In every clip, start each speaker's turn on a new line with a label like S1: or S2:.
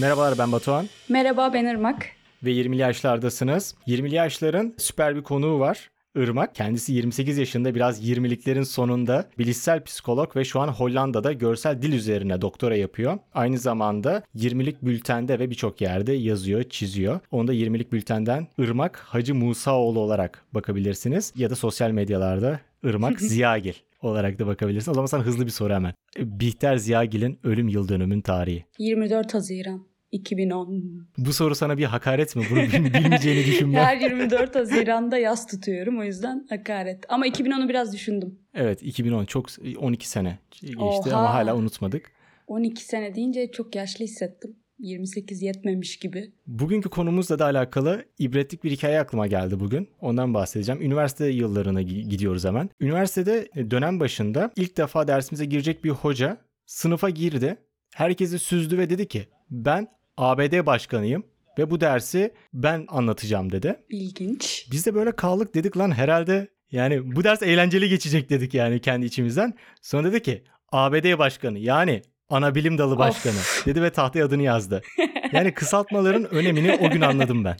S1: Merhabalar ben Batuhan
S2: Merhaba ben Irmak.
S1: ve 20'li yaşlardasınız. 20'li yaşların süper bir konuğu var. Irmak kendisi 28 yaşında biraz 20'liklerin sonunda bilişsel psikolog ve şu an Hollanda'da görsel dil üzerine doktora yapıyor. Aynı zamanda 20'lik bültende ve birçok yerde yazıyor, çiziyor. Onu da 20'lik bültenden Irmak Hacı Musaoğlu olarak bakabilirsiniz ya da sosyal medyalarda Irmak Ziyagil olarak da bakabilirsiniz. O zaman sana hızlı bir soru hemen. Bihter Ziyagil'in ölüm yıl dönümün tarihi.
S2: 24 Haziran 2010.
S1: Bu soru sana bir hakaret mi? Bunu bil- bilmeyeceğini düşünme.
S2: Her 24 Haziran'da yaz tutuyorum o yüzden hakaret. Ama 2010'u biraz düşündüm.
S1: Evet 2010 çok 12 sene geçti ama
S2: Oha.
S1: hala unutmadık.
S2: 12 sene deyince çok yaşlı hissettim. 28 yetmemiş gibi.
S1: Bugünkü konumuzla da alakalı ibretlik bir hikaye aklıma geldi bugün. Ondan bahsedeceğim. Üniversite yıllarına gi- gidiyoruz hemen. Üniversitede e, dönem başında ilk defa dersimize girecek bir hoca sınıfa girdi. Herkesi süzdü ve dedi ki ben ABD başkanıyım ve bu dersi ben anlatacağım dedi.
S2: İlginç.
S1: Biz de böyle kaldık dedik lan herhalde yani bu ders eğlenceli geçecek dedik yani kendi içimizden. Sonra dedi ki ABD başkanı yani ana bilim dalı başkanı dedi ve tahtaya adını yazdı. Yani kısaltmaların önemini o gün anladım ben.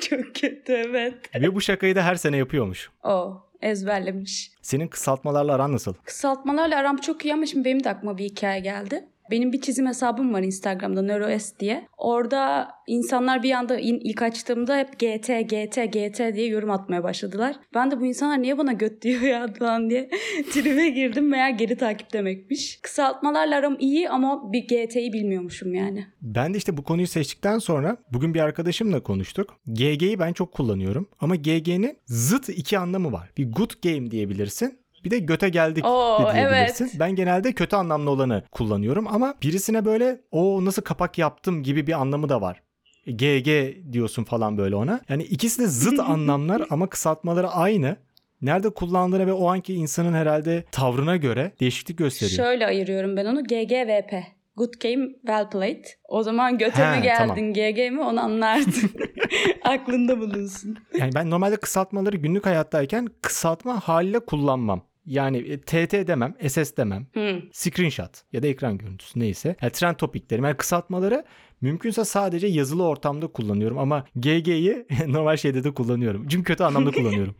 S2: çok kötü evet.
S1: Ve bu şakayı da her sene yapıyormuş.
S2: O ezberlemiş.
S1: Senin kısaltmalarla aran nasıl?
S2: Kısaltmalarla aram çok iyi ama şimdi benim de aklıma bir hikaye geldi. Benim bir çizim hesabım var Instagram'da NeuroS diye. Orada insanlar bir anda in- ilk açtığımda hep GT, GT, GT diye yorum atmaya başladılar. Ben de bu insanlar niye bana göt diyor ya falan diye tribe girdim. Meğer geri takip demekmiş. Kısaltmalarla aram iyi ama bir GT'yi bilmiyormuşum yani.
S1: Ben de işte bu konuyu seçtikten sonra bugün bir arkadaşımla konuştuk. GG'yi ben çok kullanıyorum ama GG'nin zıt iki anlamı var. Bir good game diyebilirsin. Bir de göte geldik
S2: Oo,
S1: de diyebilirsin.
S2: evet.
S1: Ben genelde kötü anlamlı olanı kullanıyorum ama birisine böyle o nasıl kapak yaptım gibi bir anlamı da var. GG diyorsun falan böyle ona. Yani ikisi de zıt anlamlar ama kısaltmaları aynı. Nerede kullandığına ve o anki insanın herhalde tavrına göre değişiklik gösteriyor.
S2: Şöyle ayırıyorum ben onu GGVP. Good game, well played. O zaman göte
S1: He,
S2: mi geldin,
S1: tamam.
S2: GG mi onu anlardın. Aklında bulunsun.
S1: Yani ben normalde kısaltmaları günlük hayattayken kısaltma haliyle kullanmam. Yani e, TT demem, SS demem,
S2: Hmm.
S1: screenshot ya da ekran görüntüsü neyse. Yani trend topik derim. Yani kısaltmaları mümkünse sadece yazılı ortamda kullanıyorum ama GG'yi normal şeyde de kullanıyorum. Çünkü kötü anlamda kullanıyorum.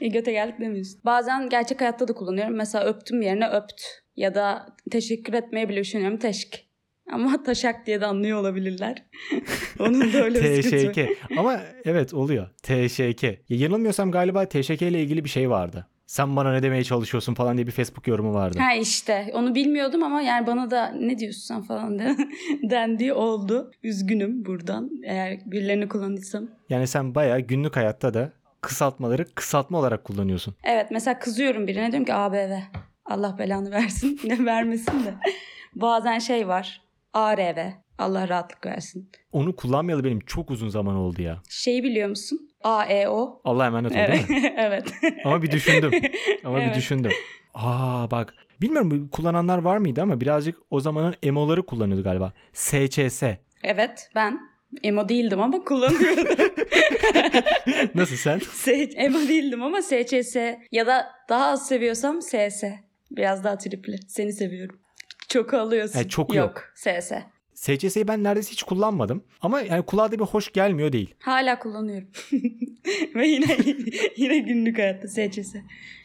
S2: E göte geldik demiyorsun. Bazen gerçek hayatta da kullanıyorum. Mesela öptüm yerine öpt. Ya da teşekkür etmeye bile düşünüyorum teşk. Ama taşak diye de anlıyor olabilirler. Onun da öyle bir sıkıntı. var.
S1: TŞK. Ama evet oluyor. TŞK. Ya yanılmıyorsam galiba TŞK ile ilgili bir şey vardı. Sen bana ne demeye çalışıyorsun falan diye bir Facebook yorumu vardı.
S2: Ha işte onu bilmiyordum ama yani bana da ne diyorsun sen falan de, dendiği oldu. Üzgünüm buradan eğer birilerini kullandıysam.
S1: Yani sen bayağı günlük hayatta da kısaltmaları kısaltma olarak kullanıyorsun.
S2: Evet mesela kızıyorum birine diyorum ki ABV. Allah belanı versin. ne vermesin de. Bazen şey var. ARV. Allah rahatlık versin.
S1: Onu kullanmayalı benim çok uzun zaman oldu ya.
S2: Şeyi biliyor musun? AEO.
S1: Allah'a emanet ol
S2: Evet.
S1: değil mi?
S2: evet.
S1: Ama bir düşündüm. Ama
S2: Evet.
S1: bir düşündüm. Aa bak. Bilmiyorum bu kullananlar var mıydı ama birazcık o zamanın emoları kullanıyordu galiba. SCS.
S2: Evet ben emo değildim ama kullanıyordum.
S1: Nasıl sen?
S2: S- emo değildim ama SCS ya da daha az seviyorsam SS. Biraz daha tripli. Seni seviyorum. Çok alıyorsun.
S1: E, çok yok.
S2: SS.
S1: SCS'yi ben neredeyse hiç kullanmadım. Ama yani kulağa da bir hoş gelmiyor değil.
S2: Hala kullanıyorum. Ve yine yine günlük hayatta SCS.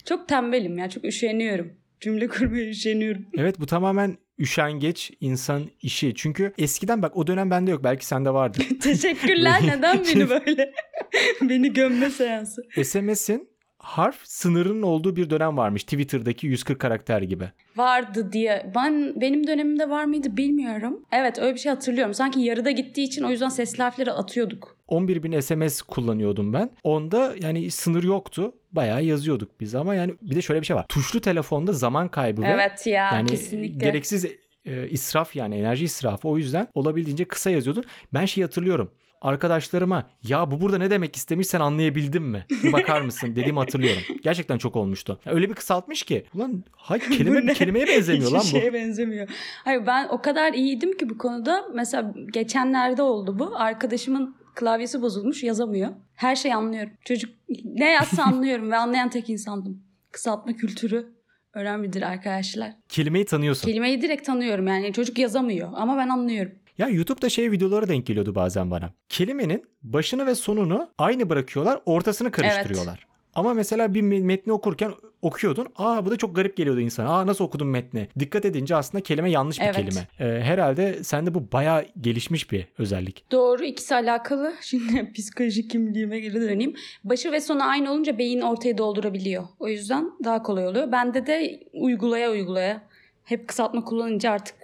S2: Çok tembelim ya. Çok üşeniyorum. Cümle kurmaya üşeniyorum.
S1: Evet bu tamamen üşengeç insan işi. Çünkü eskiden bak o dönem bende yok. Belki sende vardı.
S2: Teşekkürler. Neden beni böyle? beni gömme seansı.
S1: SMS'in harf sınırının olduğu bir dönem varmış. Twitter'daki 140 karakter gibi.
S2: vardı diye. Ben benim dönemimde var mıydı bilmiyorum. Evet öyle bir şey hatırlıyorum. Sanki yarıda gittiği için o yüzden sesli harfleri atıyorduk.
S1: 11 bin SMS kullanıyordum ben. Onda yani sınır yoktu. Bayağı yazıyorduk biz ama yani bir de şöyle bir şey var. Tuşlu telefonda zaman kaybı ve
S2: evet ya
S1: yani
S2: kesinlikle.
S1: gereksiz e, israf yani enerji israfı. O yüzden olabildiğince kısa yazıyordun. Ben şey hatırlıyorum. Arkadaşlarıma ya bu burada ne demek istemiş sen anlayabildin mi? Bir bakar mısın dediğimi hatırlıyorum. Gerçekten çok olmuştu. Öyle bir kısaltmış ki ulan hay kelime
S2: Bu ne?
S1: kelimeye benzemiyor
S2: Hiçbir şey
S1: lan bu.
S2: şeye benzemiyor. Hayır ben o kadar iyiydim ki bu konuda. Mesela geçenlerde oldu bu. Arkadaşımın klavyesi bozulmuş yazamıyor. Her şeyi anlıyorum. Çocuk ne yazsa anlıyorum ve anlayan tek insandım. Kısaltma kültürü önemlidir arkadaşlar.
S1: Kelimeyi tanıyorsun.
S2: Kelimeyi direkt tanıyorum yani çocuk yazamıyor ama ben anlıyorum.
S1: Ya YouTube'da şey videoları denk geliyordu bazen bana. Kelimenin başını ve sonunu aynı bırakıyorlar, ortasını karıştırıyorlar. Ama mesela bir me- metni okurken okuyordun. Aa bu da çok garip geliyordu insana. Aa nasıl okudun metni? Dikkat edince aslında kelime yanlış bir
S2: Evet.
S1: kelime. Ee, herhalde sende bu bayağı gelişmiş bir özellik.
S2: Doğru ikisi alakalı. Şimdi psikoloji kimliğime geri döneyim. Başı ve sonu aynı olunca beyin ortayı doldurabiliyor. O yüzden daha kolay oluyor. Bende de uygulaya uygulaya hep kısaltma kullanınca artık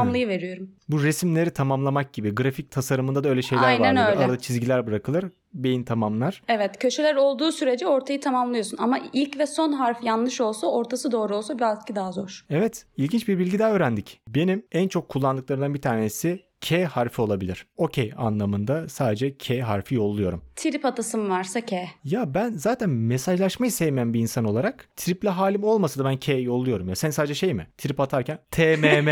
S2: tamamlayıveriyorum.
S1: Bu resimleri tamamlamak gibi grafik tasarımında da öyle şeyler
S2: Aynen
S1: vardır.
S2: öyle.
S1: Arada çizgiler bırakılır. Beyin tamamlar.
S2: Evet köşeler olduğu sürece ortayı tamamlıyorsun. Ama ilk ve son harf yanlış olsa ortası doğru olsa belki daha zor.
S1: Evet, ilginç bir bilgi daha öğrendik. Benim en çok kullandıklarımdan bir tanesi K harfi olabilir. Okey anlamında sadece K harfi yolluyorum.
S2: Trip atasım varsa K.
S1: Ya ben zaten mesajlaşmayı sevmeyen bir insan olarak triple halim olmasa da ben K yolluyorum ya. Sen sadece şey mi? Trip atarken TMM.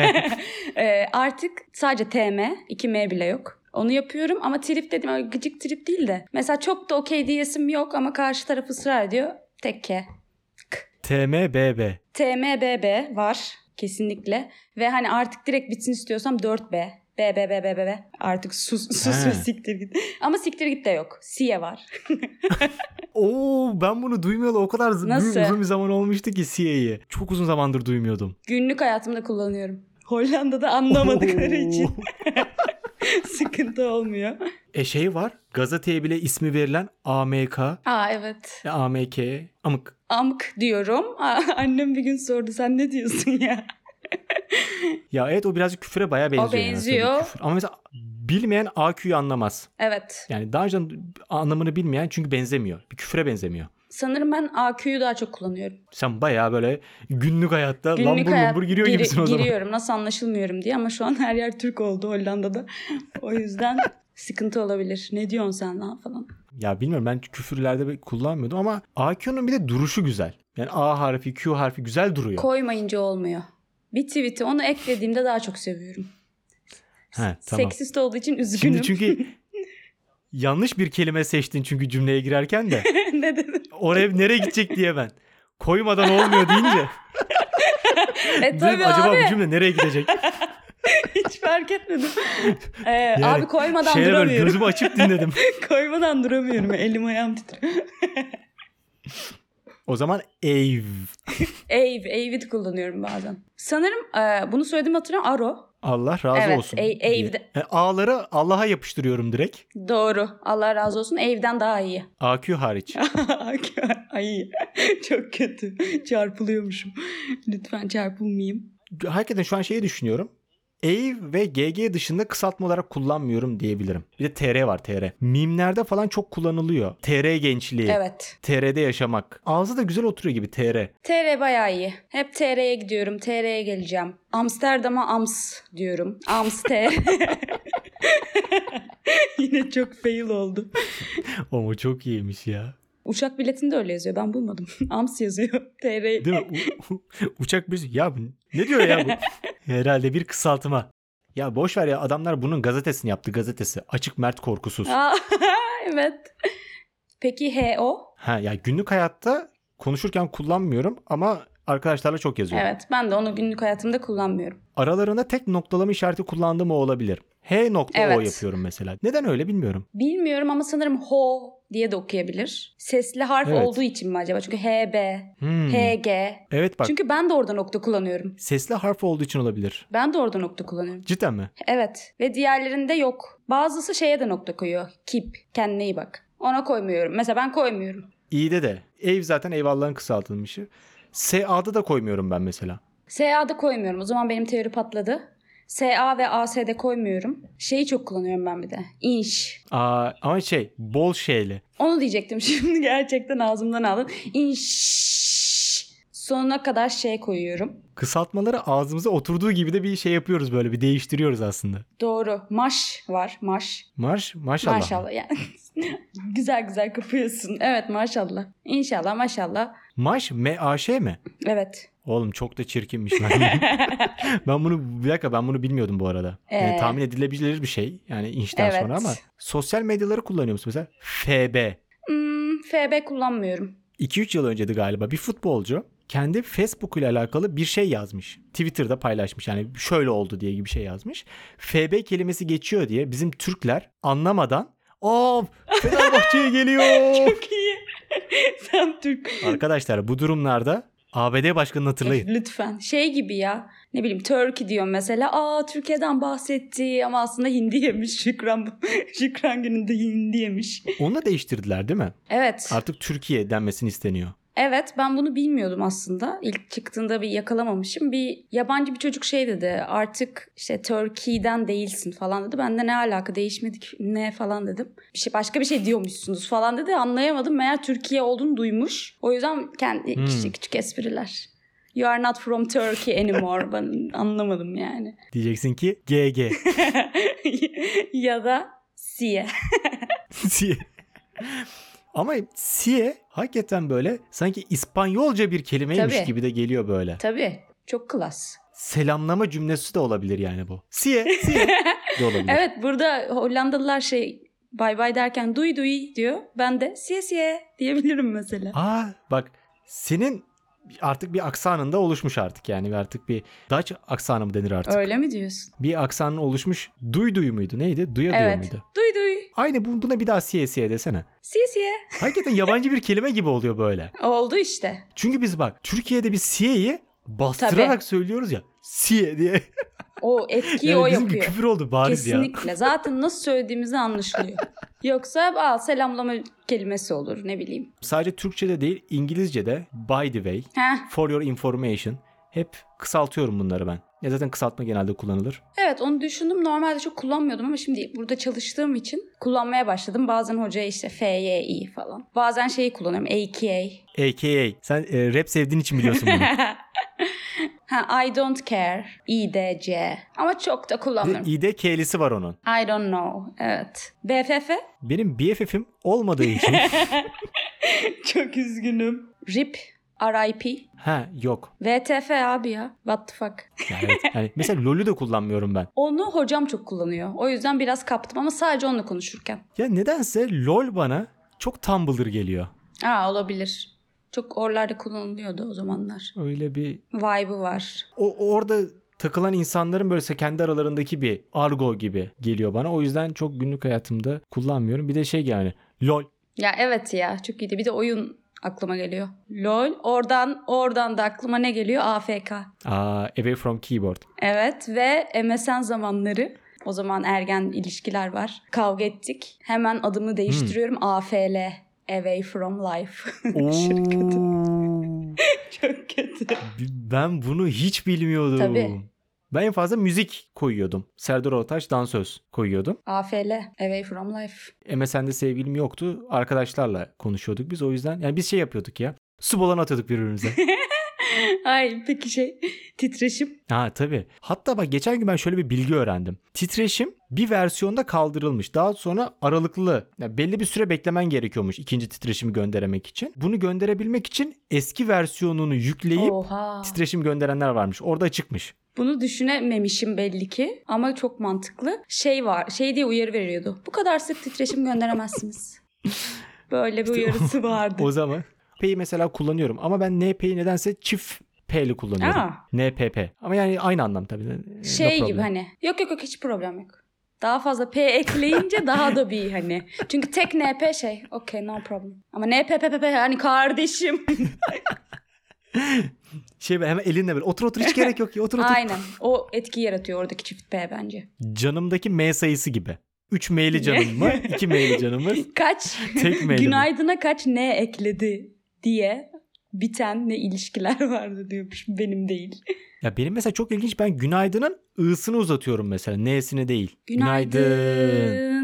S2: Ee, artık sadece TM, 2M bile yok. Onu yapıyorum ama trip dedim öyle gıcık trip değil de. Mesela çok da okey diyesim yok ama karşı taraf ısrar ediyor. Tek K.
S1: TMBB.
S2: TMBB var kesinlikle. Ve hani artık direkt bitsin istiyorsam 4B. B, B, B, B, B, B. Artık sus, sus
S1: He.
S2: ve siktir git. Ama siktir git de yok. Siye var.
S1: Oo ben bunu duymayalı o kadar z-
S2: Nasıl?
S1: uzun bir zaman olmuştu ki CA'yı. Çok uzun zamandır duymuyordum.
S2: Günlük hayatımda kullanıyorum. Hollanda'da anlamadıkları için sıkıntı olmuyor.
S1: E şey var. Gazeteye bile ismi verilen AMK.
S2: Aa evet.
S1: E, AMK. Amık.
S2: Amk diyorum. Aa, annem bir gün sordu sen ne diyorsun ya?
S1: Ya evet o birazcık küfüre baya benziyor. yani aslında bir
S2: benziyor.
S1: küfür. Ama mesela bilmeyen AQ'yu anlamaz.
S2: Evet.
S1: Yani daha önce anlamını bilmeyen çünkü benzemiyor. Bir küfüre benzemiyor.
S2: Sanırım ben AQ'yu daha çok kullanıyorum.
S1: Sen bayağı böyle günlük hayatta lambur
S2: hayat-
S1: lumbur giriyor
S2: giri-
S1: gibisin o zaman.
S2: Giriyorum nasıl anlaşılmıyorum diye ama şu an her yer Türk oldu Hollanda'da. o yüzden sıkıntı olabilir. Ne diyorsun sen lan falan.
S1: Ya bilmiyorum ben küfürlerde bir kullanmıyordum ama AQ'nun bir de duruşu güzel. Yani A harfi, Q harfi güzel duruyor.
S2: Koymayınca olmuyor. Bir tweet'i onu eklediğimde daha çok seviyorum.
S1: He, tamam.
S2: Seksist olduğu için üzgünüm.
S1: Şimdi çünkü yanlış bir kelime seçtin çünkü cümleye girerken de
S2: ne dedim? E,
S1: oraya nereye gidecek diye ben. Koymadan olmuyor deyince
S2: E
S1: dedim,
S2: tabii
S1: acaba
S2: abi
S1: bu cümle nereye gidecek?
S2: hiç fark etmedim. Ee,
S1: Yani
S2: abi koymadan
S1: Şeye böyle
S2: duramıyorum.
S1: gözümü açıp dinledim.
S2: koymadan duramıyorum. Elim ayağım titriyor.
S1: O zaman ev.
S2: Eve, Avid kullanıyorum bazen. Sanırım e, bunu söyledim hatırlıyorum. Aro.
S1: Allah razı
S2: Evet,
S1: olsun.
S2: ev-
S1: diye.
S2: evde-
S1: E, A'ları Allah'a yapıştırıyorum direkt.
S2: Doğru. Allah razı olsun. Evden daha iyi.
S1: AQ hariç.
S2: Ay çok kötü. Çarpılıyormuşum. Lütfen çarpılmayayım.
S1: Hakikaten şu an şeyi düşünüyorum. Ave ve GG dışında kısaltma olarak kullanmıyorum diyebilirim. Bir de TR var TR. Mimlerde falan çok kullanılıyor. TR gençliği.
S2: Evet.
S1: TR'de yaşamak. Ağzı da güzel oturuyor gibi TR.
S2: TR bayağı iyi. Hep TR'ye gidiyorum. TR'ye geleceğim. Amsterdam'a Ams diyorum. Ams TR. Yine çok fail oldu.
S1: Ama çok iyiymiş ya.
S2: Uçak biletinde öyle yazıyor. Ben bulmadım. Ams yazıyor. TR.
S1: Değil mi? U- u- uçak bir... şey. Ya bu- ne diyor ya bu? Herhalde bir kısaltma. Ya boş ver ya adamlar bunun gazetesini yaptı gazetesi. Açık Mert Korkusuz.
S2: Aa, evet. Peki HO?
S1: Ha ya günlük hayatta konuşurken kullanmıyorum ama arkadaşlarla çok yazıyorum.
S2: Evet. Ben de onu günlük hayatımda kullanmıyorum.
S1: Aralarında tek noktalama işareti kullandığım o olabilir. H nokta O
S2: Evet.
S1: yapıyorum mesela. Neden öyle bilmiyorum.
S2: Bilmiyorum ama sanırım ho diye de okuyabilir. Sesli harf
S1: Evet.
S2: olduğu için mi acaba? Çünkü HB,
S1: Hmm.
S2: HG.
S1: Evet Hmm. bak
S2: Çünkü ben de orada nokta kullanıyorum.
S1: sesli harf olduğu için olabilir.
S2: Ben de orada nokta kullanıyorum.
S1: Cidden mi?
S2: Evet. Ve diğerlerinde yok. Bazısı şeye de nokta koyuyor. Keep. Kendine iyi bak. Ona koymuyorum. Mesela ben koymuyorum.
S1: İyi'de de. Ev zaten eyvallahın kısaltılmışı. SA'da da koymuyorum ben mesela.
S2: SA'da koymuyorum. O zaman benim teori patladı. SA ve AS'de koymuyorum. Şeyi çok kullanıyorum ben bir de. İnş.
S1: Aa, ama şey bol şeyli.
S2: Onu diyecektim şimdi gerçekten ağzımdan aldın. İnş. Sonuna kadar şey koyuyorum.
S1: Kısaltmaları ağzımıza oturduğu gibi de bir şey yapıyoruz böyle bir değiştiriyoruz aslında.
S2: Doğru. Maş var. Maş.
S1: Marş maşallah.
S2: Maşallah. Yani güzel güzel kapıyorsun. Evet maşallah. İnşallah maşallah.
S1: Maş M A Ş mi?
S2: Evet.
S1: Oğlum çok da çirkinmiş lan. ben bunu bir dakika ben bunu bilmiyordum bu arada. Yani
S2: Ee?
S1: tahmin edilebilir bir şey. Yani inçten
S2: Evet.
S1: sonra ama sosyal medyaları kullanıyor musun mesela? FB.
S2: Hmm, FB kullanmıyorum.
S1: 2-3 yıl önceydi galiba bir futbolcu kendi Facebook ile alakalı bir şey yazmış. Twitter'da paylaşmış yani şöyle oldu diye gibi bir şey yazmış. FB kelimesi geçiyor diye bizim Türkler anlamadan of Fenerbahçe'ye geliyor.
S2: Çok iyi. Sen Türk.
S1: Arkadaşlar bu durumlarda ABD başkanını hatırlayın.
S2: Lütfen. Şey gibi ya. Ne bileyim Turkey diyor mesela. Aa Türkiye'den bahsetti ama aslında hindi yemiş. Şükran, Şükran gününde hindi yemiş.
S1: Onu da değiştirdiler değil mi?
S2: Evet.
S1: Artık Türkiye denmesini isteniyor.
S2: Evet ben bunu bilmiyordum aslında. İlk çıktığında bir yakalamamışım. Bir yabancı bir çocuk şey dedi. Artık işte Turkey'den değilsin falan dedi. Ben de ne alaka değişmedik ne falan dedim. Bir şey başka bir şey diyormuşsunuz falan dedi. Anlayamadım. Meğer Türkiye olduğunu duymuş. O yüzden kendi
S1: Hmm.
S2: küçük küçük espriler. You are not from Turkey anymore. ben anlamadım yani.
S1: Diyeceksin ki GG
S2: ya da Siye.
S1: diye. Ama siye hakikaten böyle sanki İspanyolca bir kelimeymiş
S2: Tabii.
S1: gibi de geliyor böyle.
S2: Tabii. Çok klas.
S1: Selamlama cümlesi de olabilir yani bu. Siye, siye de olabilir.
S2: Evet burada Hollandalılar şey bay bay derken duy duy diyor. Ben de siye siye diyebilirim mesela.
S1: Aa bak senin artık bir aksanında oluşmuş artık yani artık bir Dutch aksanı mı denir artık?
S2: Öyle mi diyorsun?
S1: Bir aksanın oluşmuş. Duy duy muydu? Neydi? Duya duya
S2: Evet.
S1: muydu?
S2: Duy duy
S1: Aynı bu- buna bir daha siye siye desene.
S2: siye siye.
S1: Hakikaten yabancı bir kelime gibi oluyor böyle.
S2: Oldu işte.
S1: Çünkü biz bak Türkiye'de biz siyeyi bastırarak
S2: Tabii.
S1: söylüyoruz ya. Siye diye.
S2: O etkiyi
S1: Yani
S2: o
S1: bizim
S2: yapıyor.
S1: küfür oldu bariz ya.
S2: Kesinlikle. Zaten nasıl söylediğimizi anlaşılıyor. Yoksa al selamlama kelimesi olur ne bileyim.
S1: Sadece Türkçe'de değil İngilizce'de by the way,
S2: Heh.
S1: for your information hep kısaltıyorum bunları ben. Ya zaten kısaltma genelde kullanılır.
S2: Evet onu düşündüm. Normalde çok kullanmıyordum ama şimdi burada çalıştığım için kullanmaya başladım. Bazen hocaya işte FYI falan. Bazen şeyi kullanıyorum. AKA.
S1: AKA. Sen e, rap sevdiğin için biliyorsun bunu.
S2: ha, I don't care. IDC. Ama çok da
S1: Bir de
S2: kullanmıyorum.
S1: İ'de K'lisi var onun.
S2: I don't know. Evet. BFF.
S1: Benim BFF'im olmadığı için.
S2: çok üzgünüm. RIP. RIP.
S1: ha yok.
S2: VTF abi ya. What the fuck.
S1: Yani, evet. Yani mesela LoL'ü de kullanmıyorum ben.
S2: Onu hocam çok kullanıyor. O yüzden biraz kaptım ama sadece onunla konuşurken.
S1: Ya nedense LoL bana çok Tumblr geliyor.
S2: Aa olabilir. Çok oralarda kullanılıyordu o zamanlar.
S1: Öyle bir
S2: Vibe'ı var.
S1: o orada takılan insanların böylese kendi aralarındaki bir argo gibi geliyor bana. O yüzden çok günlük hayatımda kullanmıyorum. Bir de şey yani LOL.
S2: Ya evet ya çok iyiydi. Bir de oyun aklıma geliyor. LOL. Oradan oradan da aklıma ne geliyor? AFK.
S1: Aa, away from keyboard.
S2: Evet ve MSN zamanları. O zaman ergen ilişkiler var. Kavga ettik. Hemen
S1: Hmm.
S2: adımı değiştiriyorum. AFL. Away from life. Şirketi.
S1: Oo.
S2: Çok kötü.
S1: ben bunu hiç bilmiyordum.
S2: Tabii.
S1: Ben en fazla müzik koyuyordum. Serdar Ortaç dansöz koyuyordum.
S2: AFL. Away from life.
S1: MSN'de sevgilim yoktu. Arkadaşlarla konuşuyorduk biz. O yüzden yani biz şey yapıyorduk ya. Su balonu atıyorduk birbirimize.
S2: Ay peki şey titreşim.
S1: Ha tabii. Hatta bak geçen gün ben şöyle bir bilgi öğrendim. Titreşim bir versiyonda kaldırılmış. Daha sonra aralıklı. ya belli bir süre beklemen gerekiyormuş ikinci titreşimi gönderemek için. Bunu gönderebilmek için eski versiyonunu yükleyip
S2: Oha.
S1: titreşim gönderenler varmış. Orada çıkmış.
S2: Bunu düşünememişim belli ki ama çok mantıklı. Şey var, şey diye uyarı veriyordu. Bu kadar sık titreşim gönderemezsiniz. Böyle bir uyarısı vardı.
S1: O zaman P'yi mesela kullanıyorum ama ben NP'yi nedense çift P'li kullanıyorum.
S2: Aa.
S1: NPP. Ama yani aynı anlam tabii. Ee, No
S2: şey gibi
S1: problem.
S2: hani. Yok yok yok hiç problem yok. Daha fazla P ekleyince daha da bir hani. Çünkü tek NP şey. Okay no problem. Ama NPPPP hani kardeşim.
S1: Şey ben hemen elinle böyle otur otur hiç gerek yok ya otur otur.
S2: Aynen. O etki yaratıyor oradaki çift P bence.
S1: Canımdaki M sayısı gibi. 3 M'li canım mı? 2 M'li canımız.
S2: Kaç
S1: Tek mail mi?
S2: günaydına kaç ne ekledi diye biten ne ilişkiler vardı diyormuş. Benim değil.
S1: Ya benim mesela çok ilginç ben günaydının ı'sını uzatıyorum mesela n'sini değil.
S2: Günaydın.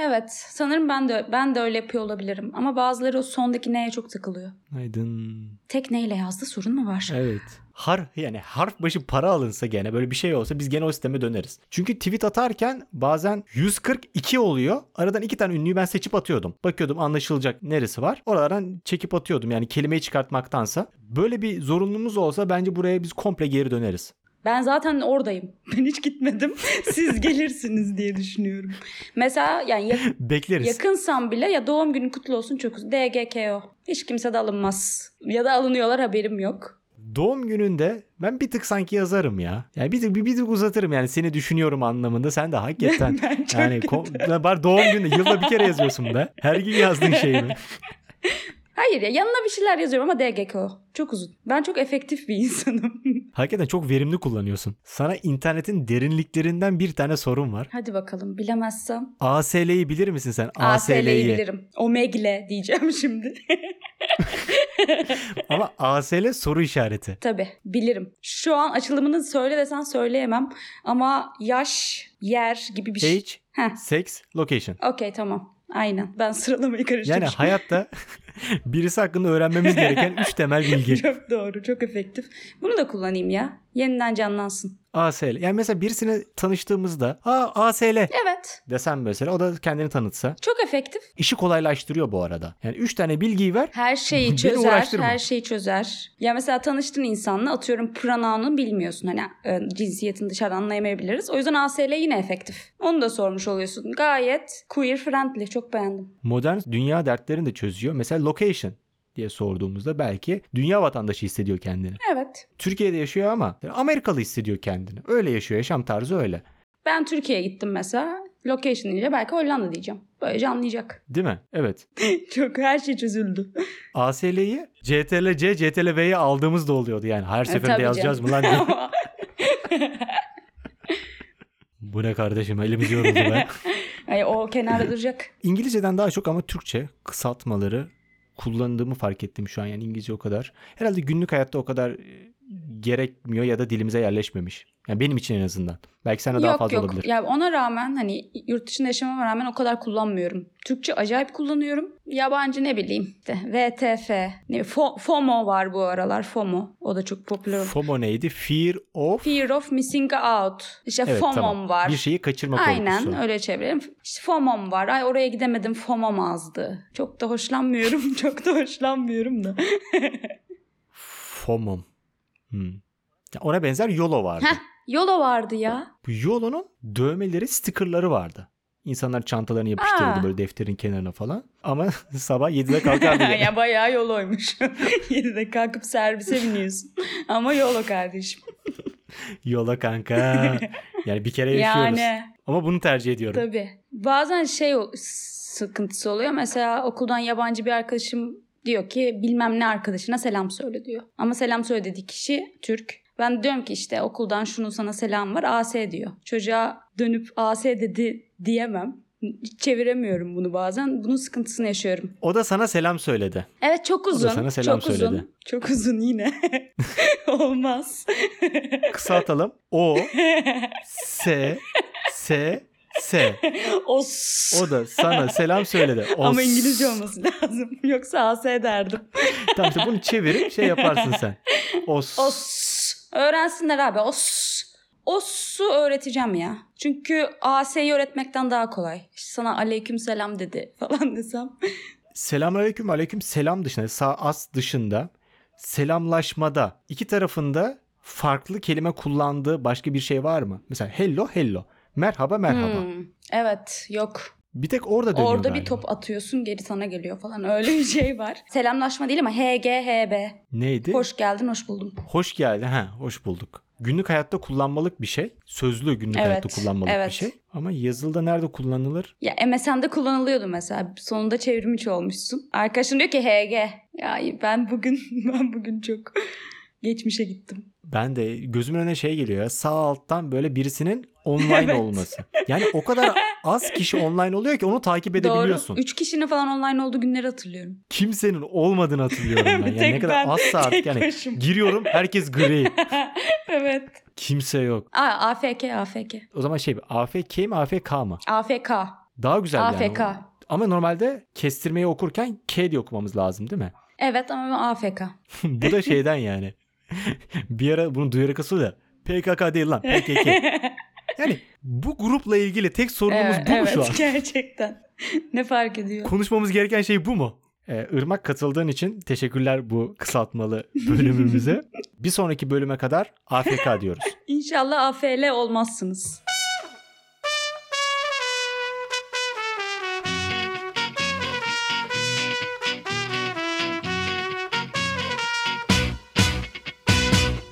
S2: Evet, sanırım ben de ben de öyle yapıyor olabilirim ama bazıları o sondaki neye çok takılıyor.
S1: Günaydın.
S2: Tek neyle yazdı sorun mu var?
S1: Evet. Har yani harf başı para alınsa gene böyle bir şey olsa biz gene o sisteme döneriz. Çünkü tweet atarken bazen 142 oluyor. Aradan iki tane ünlüyü ben seçip atıyordum. Bakıyordum anlaşılacak neresi var. Oralardan çekip atıyordum yani kelimeyi çıkartmaktansa. Böyle bir zorunluluğumuz olsa bence buraya biz komple geri döneriz.
S2: Ben zaten oradayım. Ben hiç gitmedim. Siz gelirsiniz diye düşünüyorum. Mesela yani ya-
S1: Bekleriz.
S2: yakınsam bile ya doğum günün kutlu olsun çok DGKO. Hiç kimse de alınmaz. Ya da alınıyorlar haberim yok.
S1: Doğum gününde ben bir tık sanki yazarım ya. Yani bir tık, bir, bir tık uzatırım yani seni düşünüyorum anlamında. Sen de hakikaten
S2: ben çok
S1: yani ko- lan bari doğum günü yılda bir kere yazıyorsun be. Her gün yazdığın şey mi?
S2: Hayır ya yanına bir şeyler yazıyorum ama DGK o. Çok uzun. Ben çok efektif bir insanım.
S1: Hakikaten çok verimli kullanıyorsun. Sana internetin derinliklerinden bir tane sorum var.
S2: Hadi bakalım bilemezsem.
S1: ASL'yi bilir misin sen?
S2: ASL'yi bilirim. Omegle diyeceğim şimdi.
S1: Ama ASL soru işareti.
S2: Tabii bilirim. Şu an açılımını söyle desen söyleyemem. Ama yaş, yer gibi bir şey.
S1: Age,
S2: Heh.
S1: sex, location.
S2: Okey tamam. Aynen. Ben sıralamayı
S1: Yani
S2: karıştırmışım.
S1: hayatta birisi hakkında öğrenmemiz gereken üç temel bilgi.
S2: çok doğru. Çok efektif. Bunu da kullanayım ya. Yeniden canlansın.
S1: ASL. Yani mesela birisini tanıştığımızda "Aa ASL"
S2: Evet.
S1: desem mesela o da kendini tanıtsa.
S2: Çok efektif.
S1: İşi kolaylaştırıyor bu arada. Yani üç tane bilgiyi ver.
S2: Her şeyi
S1: Beni
S2: çözer,
S1: uğraştırma.
S2: her şeyi çözer. Ya mesela tanıştığın insanla atıyorum pronoun'unu bilmiyorsun. Hani e, cinsiyetini dışarıdan anlayamayabiliriz. O yüzden ASL yine efektif. Onu da sormuş oluyorsun. Gayet queer friendly. Çok beğendim.
S1: Modern dünya dertlerini de çözüyor. Mesela location diye sorduğumuzda belki dünya vatandaşı hissediyor kendini.
S2: Evet.
S1: Türkiye'de yaşıyor ama Amerikalı hissediyor kendini. Öyle yaşıyor. Yaşam tarzı öyle.
S2: Ben Türkiye'ye gittim mesela. Location deyince belki Hollanda diyeceğim. Böylece anlayacak.
S1: Değil mi? Evet.
S2: Çok her şey çözüldü.
S1: ASL'yi CTRL-C, CTRL-V'ye aldığımız da oluyordu yani. Her seferinde
S2: E, tabii
S1: yazacağız mı lan diye.
S2: Ama
S1: Bu ne kardeşim elimiz yoruldu be.
S2: Ay, o kenarda duracak.
S1: İngilizceden daha çok ama Türkçe kısaltmaları kullandığımı fark ettim şu an. Yani İngilizce o kadar. Herhalde günlük hayatta o kadar e, gerekmiyor ya da dilimize yerleşmemiş. Yani benim için en azından. Belki sana Hani daha fazla olabilir.
S2: Ya ona rağmen hani yurt dışında yaşamama rağmen o kadar kullanmıyorum. Türkçe acayip kullanıyorum. Yabancı ne bileyim işte VTF. Ne, Fo- FOMO var bu aralar FOMO. O da çok popüler.
S1: FOMO neydi? Fear of...
S2: Fear of missing out. İşte
S1: Evet
S2: FOMO'm
S1: tamam.
S2: var.
S1: Bir şeyi kaçırma korkusu.
S2: Aynen öyle çevirelim. İşte FOMO'm var. Ay oraya gidemedim FOMO'm azdı. Çok da hoşlanmıyorum. çok da hoşlanmıyorum da.
S1: FOMO'm. Hmm. Ya Ona benzer YOLO vardı.
S2: Heh. Yolo vardı ya.
S1: Bu Yolo'nun dövmeleri, stickerları vardı. İnsanlar çantalarını yapıştırırdı
S2: Aa.
S1: böyle defterin kenarına falan. Ama sabah 7'de kalkardı. gene.
S2: ya bayağı yoloymuş. Yine de kalkıp servise biniyorsun. Ama yolo kardeşim.
S1: Yola kanka. Yani bir kere yaşıyoruz.
S2: Yani
S1: Ama bunu tercih ediyorum.
S2: tabii. Bazen şey o- sıkıntısı oluyor. Mesela okuldan yabancı bir arkadaşım diyor ki bilmem ne arkadaşına selam söyle diyor. Ama selam söyle dediği kişi Türk. Ben de diyorum ki işte okuldan şunun sana selam var AS diyor. Çocuğa dönüp AS dedi diyemem. Hiç çeviremiyorum bunu bazen. Bunun sıkıntısını yaşıyorum.
S1: O da sana selam söyledi.
S2: Evet çok uzun.
S1: sana selam
S2: çok
S1: söyledi.
S2: uzun. Çok uzun yine. Olmaz.
S1: Kısaltalım. O, S, S, S.
S2: Os.
S1: O da sana selam söyledi. O,
S2: Ama İngilizce
S1: s-
S2: olması lazım. Yoksa AS derdim.
S1: Tamam işte bunu çevirip şey yaparsın sen. O, s-
S2: Os. Öğrensinler abi. Os. Os'u öğreteceğim ya. Çünkü AS'yi öğretmekten daha kolay. İşte sana aleyküm selam dedi falan desem.
S1: Selamünaleyküm aleyküm selam dışında sağ as dışında selamlaşmada iki tarafında farklı kelime kullandığı başka bir şey var mı? Mesela hello hello. Merhaba merhaba.
S2: Hmm, Evet yok.
S1: Bir tek orada dönüyor
S2: Orada bir
S1: galiba.
S2: top atıyorsun geri sana geliyor falan öyle bir şey var. Selamlaşma değil ama HGHB.
S1: Neydi?
S2: Hoş geldin hoş buldum.
S1: Hoş geldi. Ha, hoş bulduk. Günlük hayatta kullanmalık bir şey. Sözlü günlük
S2: Evet,
S1: hayatta kullanmalık
S2: evet.
S1: bir şey. Ama yazılıda nerede kullanılır?
S2: Ya MSN'de kullanılıyordu mesela. Sonunda çevirmiş olmuşsun. Arkadaşın diyor ki HG. Ya ben bugün ben bugün çok geçmişe gittim.
S1: Ben de gözümün önüne şey geliyor ya. Sağ alttan böyle birisinin online
S2: Evet.
S1: olması. Yani o kadar az kişi online oluyor ki onu takip edebiliyorsun.
S2: Doğru. Üç kişinin falan online olduğu günleri hatırlıyorum.
S1: Kimsenin olmadığını hatırlıyorum ben. Yani
S2: Tek
S1: ne kadar
S2: ben,
S1: azsa artık
S2: tek
S1: yani.
S2: başım.
S1: Giriyorum herkes gri.
S2: evet.
S1: Kimse yok.
S2: Aa, AFK AFK.
S1: O zaman şey AFK mi AFK mı?
S2: AFK.
S1: Daha güzel
S2: AFK.
S1: yani. Ama normalde kestirmeyi okurken K diye okumamız lazım değil mi?
S2: Evet ama ben AFK.
S1: Bu da şeyden yani. bir ara bunu duyarak asıl ya. PKK değil lan PKK. yani bu grupla ilgili tek sorunumuz
S2: evet,
S1: bu mu
S2: evet,
S1: şu an?
S2: gerçekten. ne fark ediyor?
S1: Konuşmamız gereken şey bu mu? Ee, Irmak katıldığın için teşekkürler bu kısaltmalı bölümümüze. bir sonraki bölüme kadar AFK diyoruz.
S2: İnşallah AFL olmazsınız.